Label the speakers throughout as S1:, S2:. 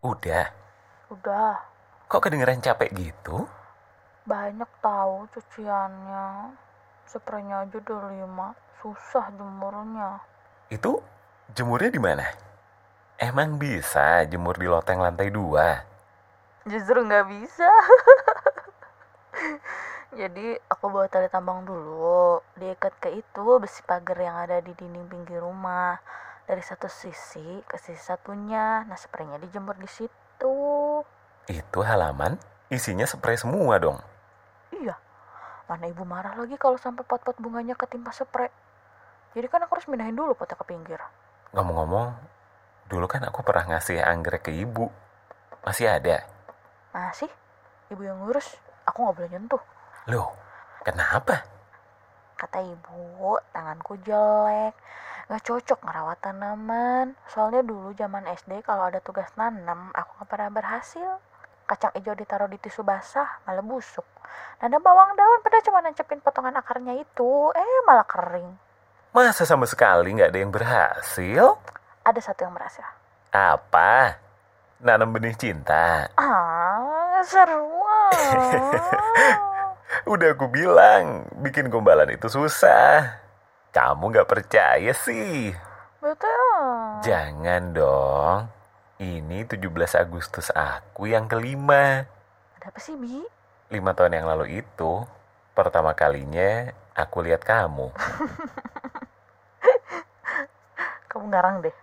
S1: Udah.
S2: Udah,
S1: Kok kedengeran capek gitu?
S2: banyak tahu cuciannya. Spraynya aja udah lima, susah jemurnya.
S1: Itu jemurnya di mana? Emang bisa jemur di loteng lantai dua?
S2: Justru nggak bisa. Jadi aku bawa tali tambang dulu, diikat ke itu besi pagar yang ada di dinding pinggir rumah. Dari satu sisi ke sisi satunya, nah spraynya dijemur di situ.
S1: Itu halaman isinya spray semua dong.
S2: Iya, mana ibu marah lagi kalau sampai pot-pot bunganya ketimpa spray. Jadi kan aku harus mindahin dulu potnya ke pinggir.
S1: Ngomong-ngomong, dulu kan aku pernah ngasih anggrek ke ibu. Masih ada.
S2: Masih? Ibu yang ngurus, aku nggak boleh nyentuh.
S1: Loh, kenapa?
S2: Kata ibu, tanganku jelek, nggak cocok ngerawat tanaman. Soalnya dulu zaman SD kalau ada tugas nanam, aku nggak pernah berhasil. Kacang hijau ditaruh di tisu basah, malah busuk. Dan ada bawang daun, padahal cuma nancepin potongan akarnya itu, eh malah kering.
S1: Masa sama sekali nggak ada yang berhasil?
S2: Ada satu yang berhasil.
S1: Apa? Nanam benih cinta.
S2: Ah, seru. ah.
S1: Udah aku bilang, bikin gombalan itu susah. Kamu nggak percaya sih?
S2: Betul.
S1: Jangan dong. Ini 17 Agustus aku yang kelima.
S2: ada apa sih, Bi?
S1: Lima tahun yang lalu itu, pertama kalinya aku lihat kamu.
S2: Kamu ngarang deh.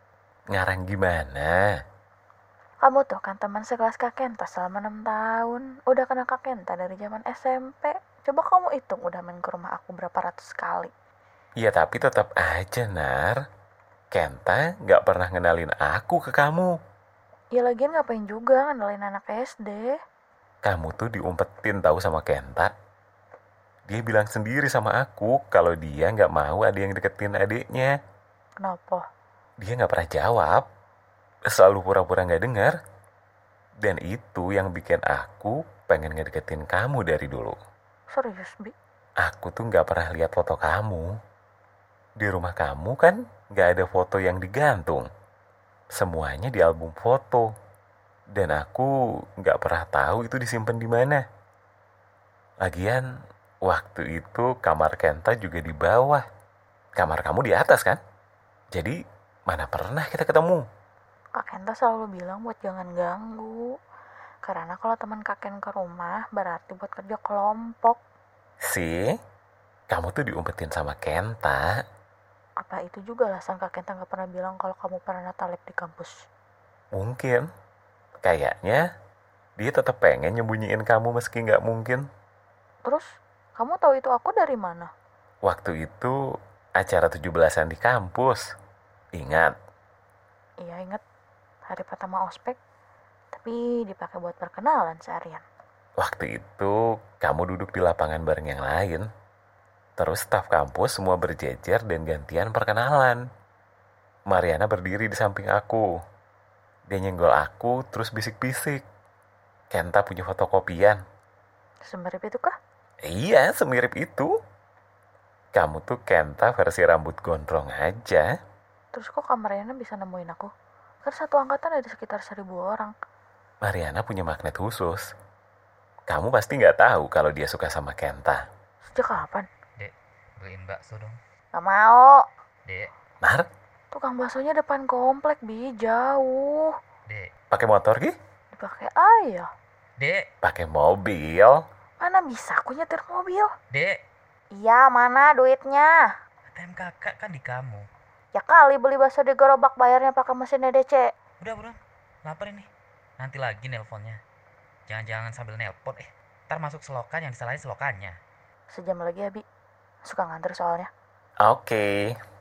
S1: Ngarang gimana?
S2: Kamu tuh kan teman sekelas Kak Kenta selama 6 tahun. Udah kenal Kak Kenta dari zaman SMP. Coba kamu hitung udah main ke rumah aku berapa ratus kali.
S1: Ya tapi tetap aja, Nar. Kenta nggak pernah ngenalin aku ke kamu.
S2: Ya lagian ngapain juga ngenalin anak SD.
S1: Kamu tuh diumpetin tahu sama Kenta. Dia bilang sendiri sama aku kalau dia nggak mau ada yang deketin adiknya.
S2: Kenapa?
S1: Dia nggak pernah jawab. Selalu pura-pura nggak dengar. Dan itu yang bikin aku pengen ngedeketin kamu dari dulu.
S2: Serius, Bi?
S1: Aku tuh nggak pernah lihat foto kamu. Di rumah kamu kan nggak ada foto yang digantung. Semuanya di album foto. Dan aku nggak pernah tahu itu disimpan di mana. Lagian, waktu itu kamar Kenta juga di bawah. Kamar kamu di atas kan? Jadi, mana pernah kita ketemu?
S2: Kak Kenta selalu bilang buat jangan ganggu. Karena kalau teman Kak Ken ke rumah berarti buat kerja kelompok.
S1: Si, kamu tuh diumpetin sama Kenta.
S2: Apa itu juga alasan Kak Kenta nggak pernah bilang kalau kamu pernah natalep di kampus?
S1: Mungkin. Kayaknya dia tetap pengen nyembunyiin kamu meski nggak mungkin.
S2: Terus, kamu tahu itu aku dari mana?
S1: Waktu itu acara 17-an di kampus. Ingat,
S2: Iya inget hari pertama ospek, tapi dipakai buat perkenalan seharian.
S1: waktu itu kamu duduk di lapangan bareng yang lain. Terus staf kampus semua berjejer dan gantian perkenalan. Mariana berdiri di samping aku. Dia nyenggol aku terus bisik-bisik. Kenta punya fotokopian.
S2: Semirip itu kah?
S1: Iya, semirip itu. Kamu tuh Kenta versi rambut gondrong aja.
S2: Terus kok kamarnya bisa nemuin aku? Kan satu angkatan ada sekitar seribu orang.
S1: Mariana punya magnet khusus. Kamu pasti nggak tahu kalau dia suka sama Kenta.
S2: Sejak kapan?
S3: beliin bakso dong
S2: Gak mau.
S3: dek
S1: Nar,
S2: Tukang baksonya depan komplek, Bi. Jauh.
S3: dek
S1: pakai motor ki?
S2: Dipakai ayah.
S3: dek
S1: Pakai mobil.
S2: Mana bisa aku nyetir mobil?
S3: dek
S2: Iya, mana duitnya?
S3: ATM kakak kan di kamu
S2: Ya kali beli bakso di gerobak bayarnya pakai mesin DDC.
S3: udah buruan lapar ini nanti lagi nelponnya jangan-jangan sambil nelpon eh ntar masuk selokan yang disalahin selokannya
S2: Sejam lagi ya, Bi. Suka nganter soalnya.
S1: Oke.